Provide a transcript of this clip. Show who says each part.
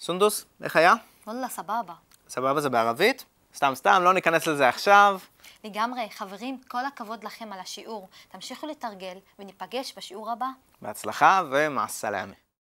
Speaker 1: סונדוס, איך היה?
Speaker 2: וואלה, סבבה.
Speaker 1: סבבה זה בערבית? סתם סתם, לא ניכנס לזה עכשיו.
Speaker 2: לגמרי, חברים, כל הכבוד לכם על השיעור. תמשיכו לתרגל, וניפגש בשיעור הבא.
Speaker 1: בהצלחה ומעשה לימי.